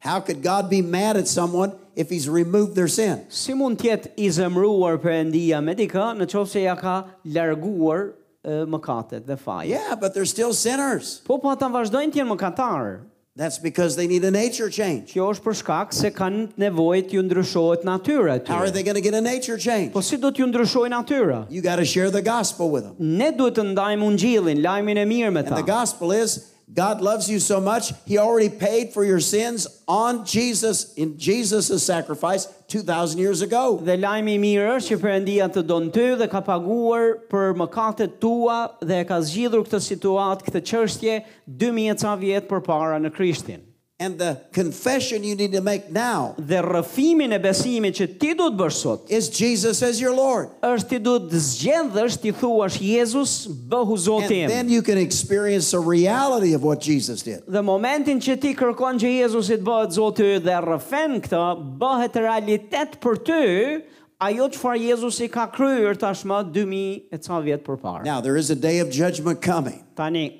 How could God be mad at someone if he's removed their sin?
Si mund të jetë i zemruar Perëndia me dikë në qoftë se ja ka larguar e, mëkatet dhe fajet?
Yeah, but they're still sinners.
Po po ata vazhdojnë të jenë mëkatarë.
That's because they need a nature change.
Kjo është për shkak se kanë nevojë të ju ndryshohet natyra e
How are
tyre.
they going to get a nature change?
Po si do t'ju ndryshojë natyra?
You got to share the gospel with them.
Ne duhet të ndajmë ungjillin, lajmin e mirë me
And
ta.
the gospel is God loves you so much, He already paid for your sins on Jesus, in Jesus' sacrifice 2,000 years ago.
Dhe lajmi i mirë është që Perëndia të don ty dhe ka paguar për mëkatet tua dhe e ka zgjidhur këtë situatë, këtë çështje 2000 ca vjet përpara në Krishtin.
And the confession you need to make now
Dhe rrëfimin e besimit që ti duhet bësh sot
is Jesus as your Lord.
është ti duhet të zgjedhësh ti thuash Jezus bëhu
And
Zoti im.
then you can experience the reality of what Jesus did.
Dhe momentin që ti kërkon që Jezusi të bëhet Zoti yt dhe rrëfen këtë, bëhet realitet për ty ajo çfarë Jezusi ka kryer tashmë 2000 e ca vjet përpara.
Now, there is a day of judgment coming.
Tani,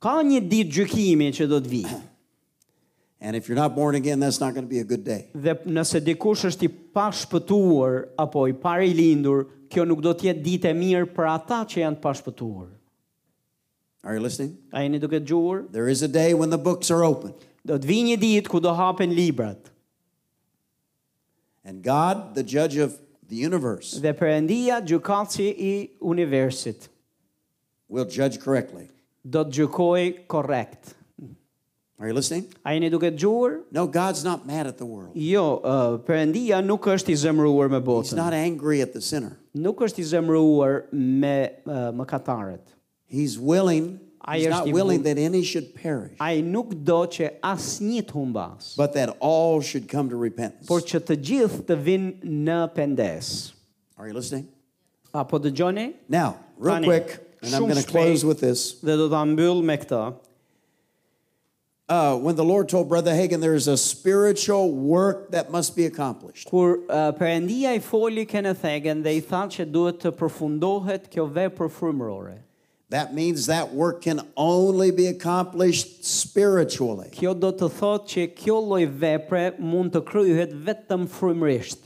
ka një ditë gjykimi që do të vijë.
And if you're not born again, that's not going to be a good day.
Dhe nëse dikush është i pa shpëtuar apo i pari lindur, kjo nuk do të jetë ditë e mirë për ata që janë të pa shpëtuar.
Are you listening?
A jeni duke dëgjuar?
There is a day when the books are open.
Do të vijë një ditë ku do hapen librat.
And God, the judge of the universe,
Dhe Perëndia, gjykatësi i universit,
will judge correctly.
do të gjykojë korrekt.
Are you listening?
A jeni duke dëgjuar?
No, God's not mad at the world.
Jo, uh, Perëndia nuk është i zemëruar me
He's
botën.
not angry at the sinner.
Nuk është i zemëruar me uh, mëkatarët.
He's willing.
I
He's not
understand.
willing that any should perish,
Ai nuk do që asnjë të humbas.
but that all should come to repentance.
por që të gjithë të vinë në pendes.
Are you listening?
Apo dëgjoni
Now, real
Tani,
quick, and I'm
shumë
going
shpejt.
to close with this.
dhe do ta mbyll me këtë.
Uh, when the Lord told Brother Hagen there is a spiritual work that must be accomplished,
Kur uh, Perëndia i foli Kenneth Hagin dhe i tha që duhet të përfundohet kjo vepër frymërore.
that means that work can only be accomplished spiritually.
Kjo do të thotë që kjo lloj vepre mund të kryhet vetëm frymërisht.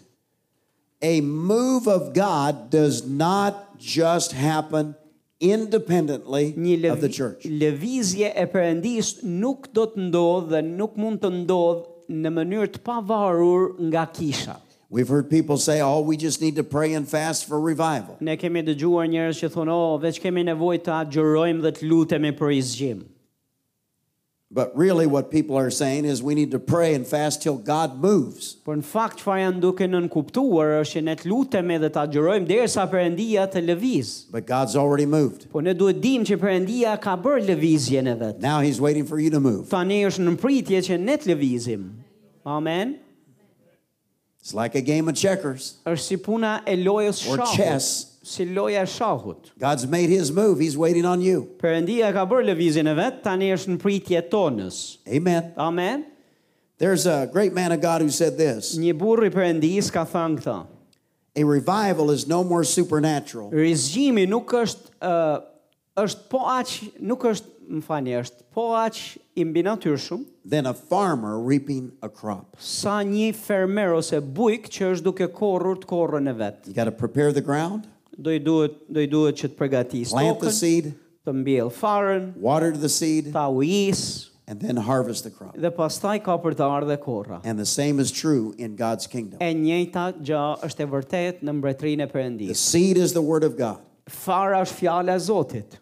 A move of God does not just happen independently
Një
of the
lëvi,
church.
lëvizje e Perëndis nuk do të ndodhë dhe nuk mund të ndodhë në mënyrë të pavarur nga kisha.
We've heard people say, oh, we just need to pray and fast for revival.
Ne kemi dëgjuar njerëz që thonë, "Oh, veç kemi nevojë të agjërojmë dhe të lutemi për izgjim."
But really, what people are saying is we need to pray and fast till God moves.
Por në fakt çfarë janë duke nën kuptuar është që ne të lutemi dhe të agjërojmë derisa Perëndia të lëviz.
But God's already moved.
Po ne duhet dim që Perëndia ka bërë lëvizjen e vet.
Now He's waiting for you to move.
Tani është në pritje që ne të lëvizim. Amen.
It's like a game of checkers
Është si puna e lojës
or
shahut,
chess.
si loja e shahut.
God's made His move, He's waiting on you.
Perëndia ka bërë lëvizjen e vet, tani është në pritje tonës.
Amen.
Amen.
There's a great man of God who said this
Një burr i Perëndis ka thënë këtë.
A revival is no more supernatural
Rizgjimi nuk është ë është po aq nuk është, më falni, është po aq i mbinatyrshëm
than a farmer reaping a crop.
sa një fermer ose bujk që është duke korrur të korrën e vet.
You got to prepare the ground,
Do i duhet do i duhet që të përgatis
plant the
tokën,
seed,
të mbjell farën,
water the seed,
ta ujis
and then harvest the crop.
dhe pastaj ka për të ardhe korra.
And the same is true in God's kingdom.
E njëjta gjë është e vërtetë në mbretërinë e
The
Perëndis.
seed is the word of God.
Fara është fjala e Zotit.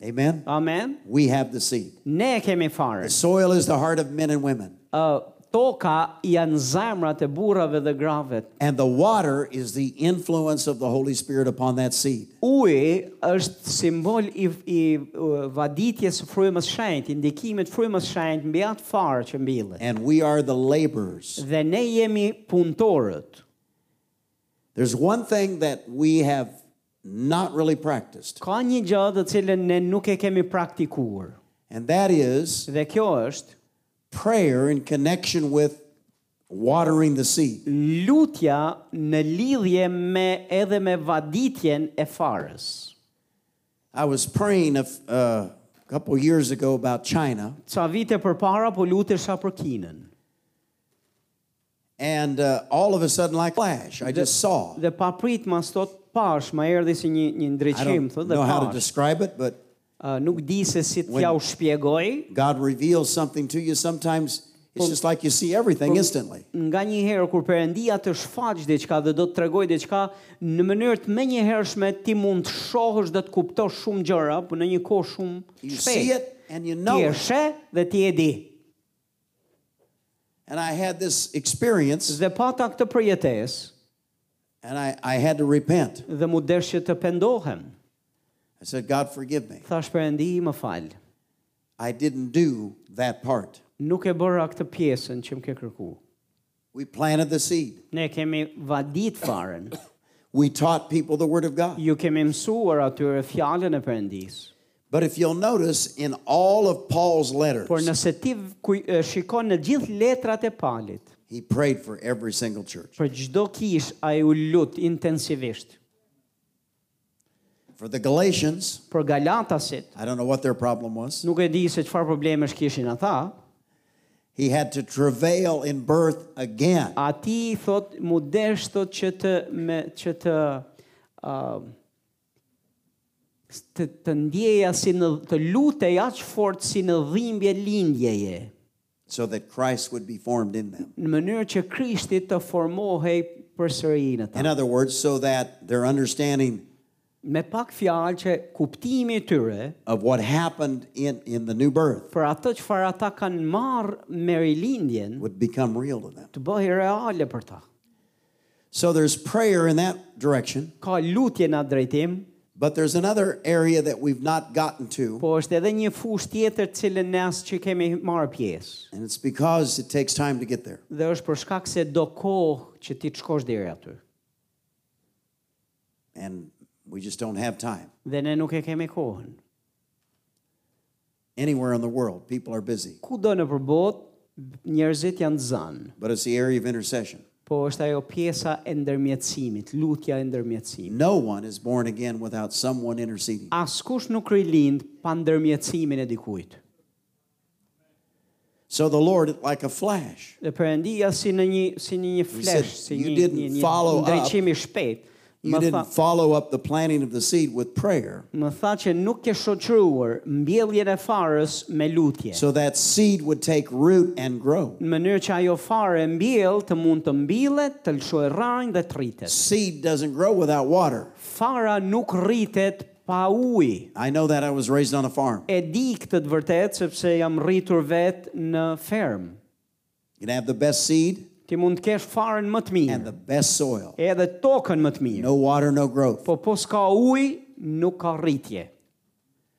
Amen.
Amen.
We have the seed.
Ne e kemi farën.
The soil is the heart of men and women,
Ë, toka janë zemrat e burrave dhe grave.
and the water is the influence of the Holy Spirit upon that seed.
Uji është simbol i, i u- vaditjes së frymës shenjtë, i ndikimit frymës shenjtë mbi atë farë që mbillet.
And we are the laborers.
Dhe ne jemi punëtorët.
There's one thing that we have not really practiced,
Ka një gjë të cilën ne nuk e kemi praktikuar.
and that is
Dhe kjo është
prayer in connection with watering the seed.
lutja në lidhje me edhe me vaditjen e farës.
I was praying a, f- uh, a couple years ago about China,
Ca vite përpara po lutesha për Kinën.
and uh, all of a sudden, like flash, I just saw.
Dhe pa prit mas thot pash, ma erdhi si një një
I
ndriçim
don't
thotë dhe
know how to
pash.
describe it, but
Ë, nuk di se si
When-
t'ja u shpjegoj,
God reveals something to you. Sometimes It's just like you see everything instantly.
Nga një herë kur Perëndia të shfaq diçka dhe do të tregoj diçka në mënyrë të menjëhershme ti mund të shohësh dhe të kuptosh shumë gjëra, por në një kohë shumë
You see
shpejt.
it and you
Ti
know
e
it.
sheh dhe ti e di.
And I had this experience
Dhe pata këtë përjetesë
and I, I had to repent.
dhe mu deshje të pendohem.
I said, God, forgive me.
Thash Perëndi, më fal.
I didn't do that part.
Nuk e bëra këtë pjesën që më ke kërku.
We planted the seed.
Ne kemi vadit faren.
We taught people the Word of God.
Ju kemi mësuar atyre fjalën e Perëndisë.
But if you'll notice, in all of Paul's letters,
Por nëse ti kuj- e shikon në gjithë letrat e Palit,
he prayed for every single church,
për çdo kish ai u lut intensivisht.
for the Galatians.
Për Galatasit,
I don't know what their problem was.
nuk e di se çfarë problemesh kishin ata,
He had to travail in birth again.
ati thot mu desh thot që të me që të uh, të, të ndjeja si në të lutej aq fort si në dhimbje lindjeje
so that Christ would be formed in them.
në mënyrë që Krishti të formohej përsëri në ta.
In other words, so that their understanding
Me pak fjalë që kuptimi i tyre
of what happened in, in the new birth
për atë çfarë ata kanë marrë me rilindjen
would become real to them.
të bëhej reale për ta.
So there's prayer in that direction,
Ka lutje në atë drejtim,
but there's another area that we've not gotten to,
po është edhe një fushë tjetër të cilën ne as që kemi marrë pjesë.
and it's because it takes time to get there.
dhe është për shkak se do kohë që ti të shkosh deri aty.
And we just don't have time.
Dhe ne nuk e kemi kohën.
Anywhere in the world, people are busy,
Kudo në përbot, njerëzit janë zanë,
but it's the area of intercession.
po është ajo pjesa e ndërmjetësimit, lutja e ndërmjetësimit.
No one is born again without someone interceding.
Askush nuk rilind pa ndërmjetësimin e dikujt.
So the Lord, like a flash,
Dhe Perëndia si në një si në një flash,
said,
si
"You
një
didn't
një, një
follow up."
ndriçim i shpejt,
you
më tha
didn't follow up the planting of the seed with prayer.
më tha që nuk ke shoqëruar mbjelljen e farës me lutje.
so that seed would take root and grow.
në mënyrë që ajo fare mbjell të mund të mbillet, të lëshoj rranjë dhe të rritet.
Seed doesn't grow without water.
Fara nuk rritet pa ujë.
I know that I was raised on a farm.
E di këtë të vërtet sepse jam rritur vetë në ferm.
You can have the best seed
Ti mund të kesh farën më të mirë,
and the best soil.
edhe tokën më të mirë.
No water, no growth.
Po po s'ka ujë, nuk ka rritje.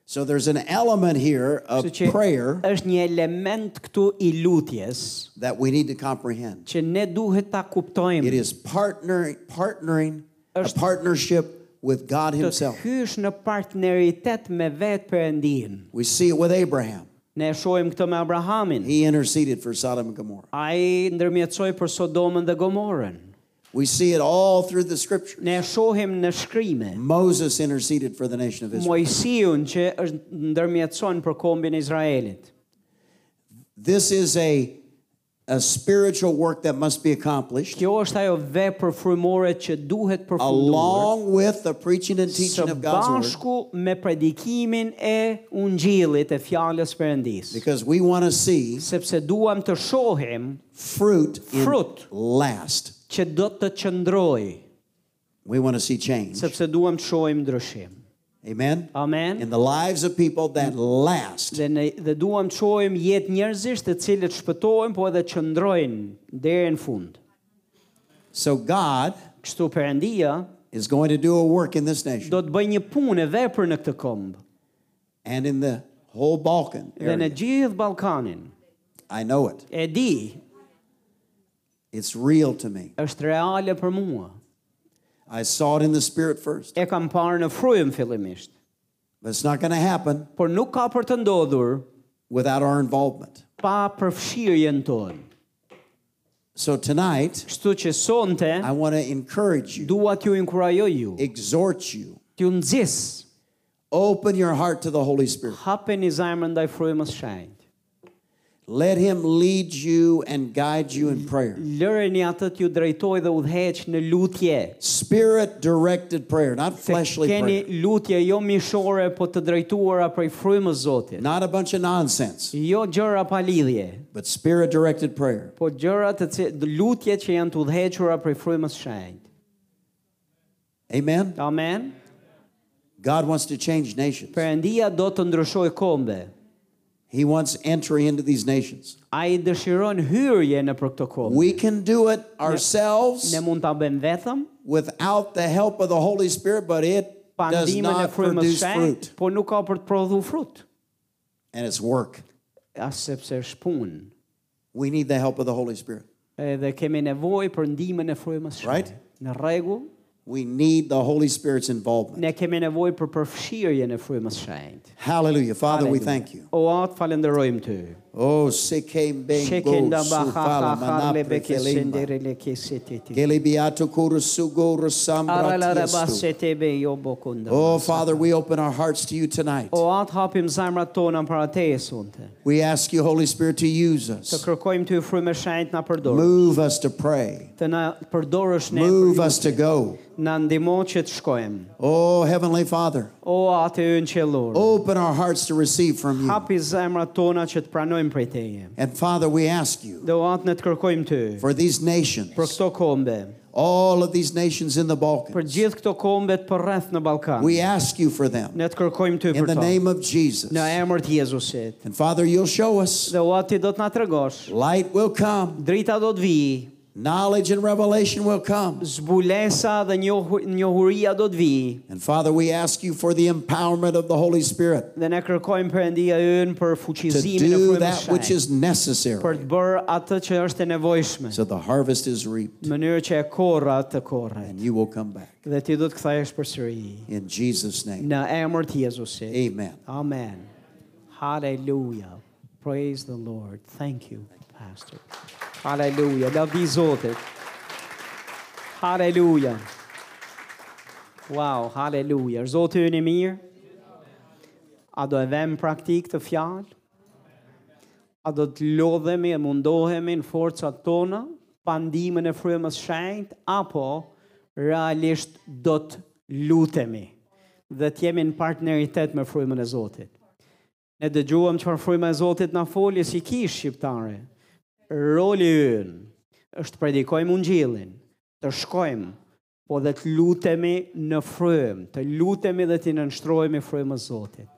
So there's an element here of
Kështu që
prayer
është një element këtu i lutjes
that we need to comprehend.
që ne duhet ta
It
kuptojmë.
is partner, partnering, a
Është-
partnership with God
Të të
Himself.
hysh në partneritet me vetë Perëndin.
We see it with Abraham.
Ne e shohim këtë me Abrahamin.
He interceded for Sodom and Gomorrah.
Ai ndërmjetësoi për Sodomën dhe Gomorën.
We see it all through the scripture.
Ne e shohim në shkrime.
Moses interceded for the nation of Israel.
Mojsiun që është ndërmjetëson për kombin e Izraelit.
This is a, a spiritual work that must be accomplished
Kjo është ajo vepër frymore që duhet përfunduar
along with the preaching and
së
teaching of God's word
bashku me predikimin e ungjillit e fjalës Perëndis.
because we want to see
Sepse duam të shohim
fruit in
Fruit.
last.
që do të qëndrojë,
We want to see change.
sepse duam të shohim ndryshim.
Amen?
Amen.
In the lives of people that last.
Dhe ne dhe duam të shohim jetë njerëzish të cilët shpëtohen, po edhe qëndrojnë deri në fund.
So God
Kështu Perëndia
is going to do a work in this nation
do të bëjë një punë e vepër në këtë komb.
and in the whole Balkan
Dhe në
area.
gjithë Ballkanin.
I know it.
E di,
It's real to me.
është reale për mua.
I saw it in the spirit first.
E kam parë në frym fillimisht,
But it's not going to happen
por nuk ka për të ndodhur
without our involvement.
pa përfshirjen tonë.
So tonight,
Kështu që sonte
I want to encourage you,
dua t'ju inkurajoj ju,
exhort you,
t'ju nxis,
open your heart to the Holy Spirit.
hapeni zemrën ndaj frymës shenjtë.
Let him lead you and guide you in prayer.
Lëreni atë t'ju drejtoj dhe udhëheq në lutje.
Spirit directed prayer, not
Se
fleshly
keni
prayer.
lutje jo mishore, po të drejtuara prej frymës Zotit.
Not a bunch of nonsense,
Jo gjëra pa lidhje,
but spirit directed prayer.
po gjëra të cil- lutje që janë të udhëhequra prej frymës shenjtë.
Amen.
Amen.
God wants to change nations.
Perëndia do të ndryshoj kombe.
He wants entry into these nations.
Ai dëshiron hyrje në për këtë kombe.
We can do it ourselves
Ne mund ta bëjmë vetëm
without the help of the Holy Spirit, but it
pa
does
ndihmën e
not
frymës
produce
shenjtë,
fruit.
po nuk ka për të prodhuar frut,
And it's work.
as sepse është punë.
We need the help of the Holy Spirit.
Edhe kemi nevojë për ndihmën e frymës shenjtë.
Right.
Në rregull,
We need the Holy Spirit's involvement.
ne kemi nevojë për përfshirjen e frymës shenjtë.
Hallelujah. Father, we thank you.
O atë falenderojmë ty.
Oh, sekem bengo
Shekenda ba ha ha
sufala
ha le
manapre
beke
kelema.
sendere le kesete ti.
Gelebiato kuru sugo
Ara
rasambra
la ra ba
tiestu.
se te be jo bokunda.
Oh, Father, we open our hearts to you tonight.
O atë Po hapim zemrat tona para teje sonte.
We ask you, Holy Spirit, to use
Të
us.
kërkojmë ty frymë shenjt na përdor.
Move us to pray.
Të na përdorësh ne
Move
për
us to
ju,
go.
na ndihmo që të shkojmë.
Oh, Heavenly Father,
O atë ynë qellor.
open our hearts to receive from you.
Hapi zemrat tona që të pranojmë prej teje.
And Father, we ask you
Dhe o atë ne të kërkojmë ty
for these nations,
për këto kombe,
all of these nations in the
për
Balkans,
gjithë këto kombe të përreth në Ballkan.
we ask you for them
Ne të kërkojmë ty
in
për
the
to.
name of Jesus.
Në emër të Jezusit.
And Father, you'll show us.
Dhe o atë ti do të na tregosh.
Light will come,
Drita do të vijë,
knowledge and revelation will come.
zbulesa dhe njohu- njohuria do të vijë.
And Father, we ask you for the empowerment of the Holy Spirit
Dhe ne kërkojmë Perëndia ynë për
to
fuqizimin e
do
frymës
that which
shenjtë,
is
për
necessary
të bërë atë që është e nevojshme,
so the harvest is reaped
në mënyrë që e korra të korret.
and you will come back.
Dhe ti do të kthehesh përsëri
In Jesus' name,
në emër të Jezusit.
amen.
Amen. Hallelujah. Praise the Lord. Thank you, Pastor. Hallelujah. Lavdi Zotit. Hallelujah. Wow, hallelujah. Është Zoti ynë i mirë. A do e vëmë praktik të fjalë? A do të lodhemi e mundohemi në forcat tona pa ndihmën e frymës shenjtë apo realisht do të lutemi dhe të jemi në partneritet me frymën e Zotit? Ne dëgjuam çfarë fryma e Zotit na foli si kish shqiptare. Roli ynë është predikojmë ungjillin, të shkojmë, po dhe të lutemi në frymë, të lutemi dhe të nënshtrohemi frymës Zotit.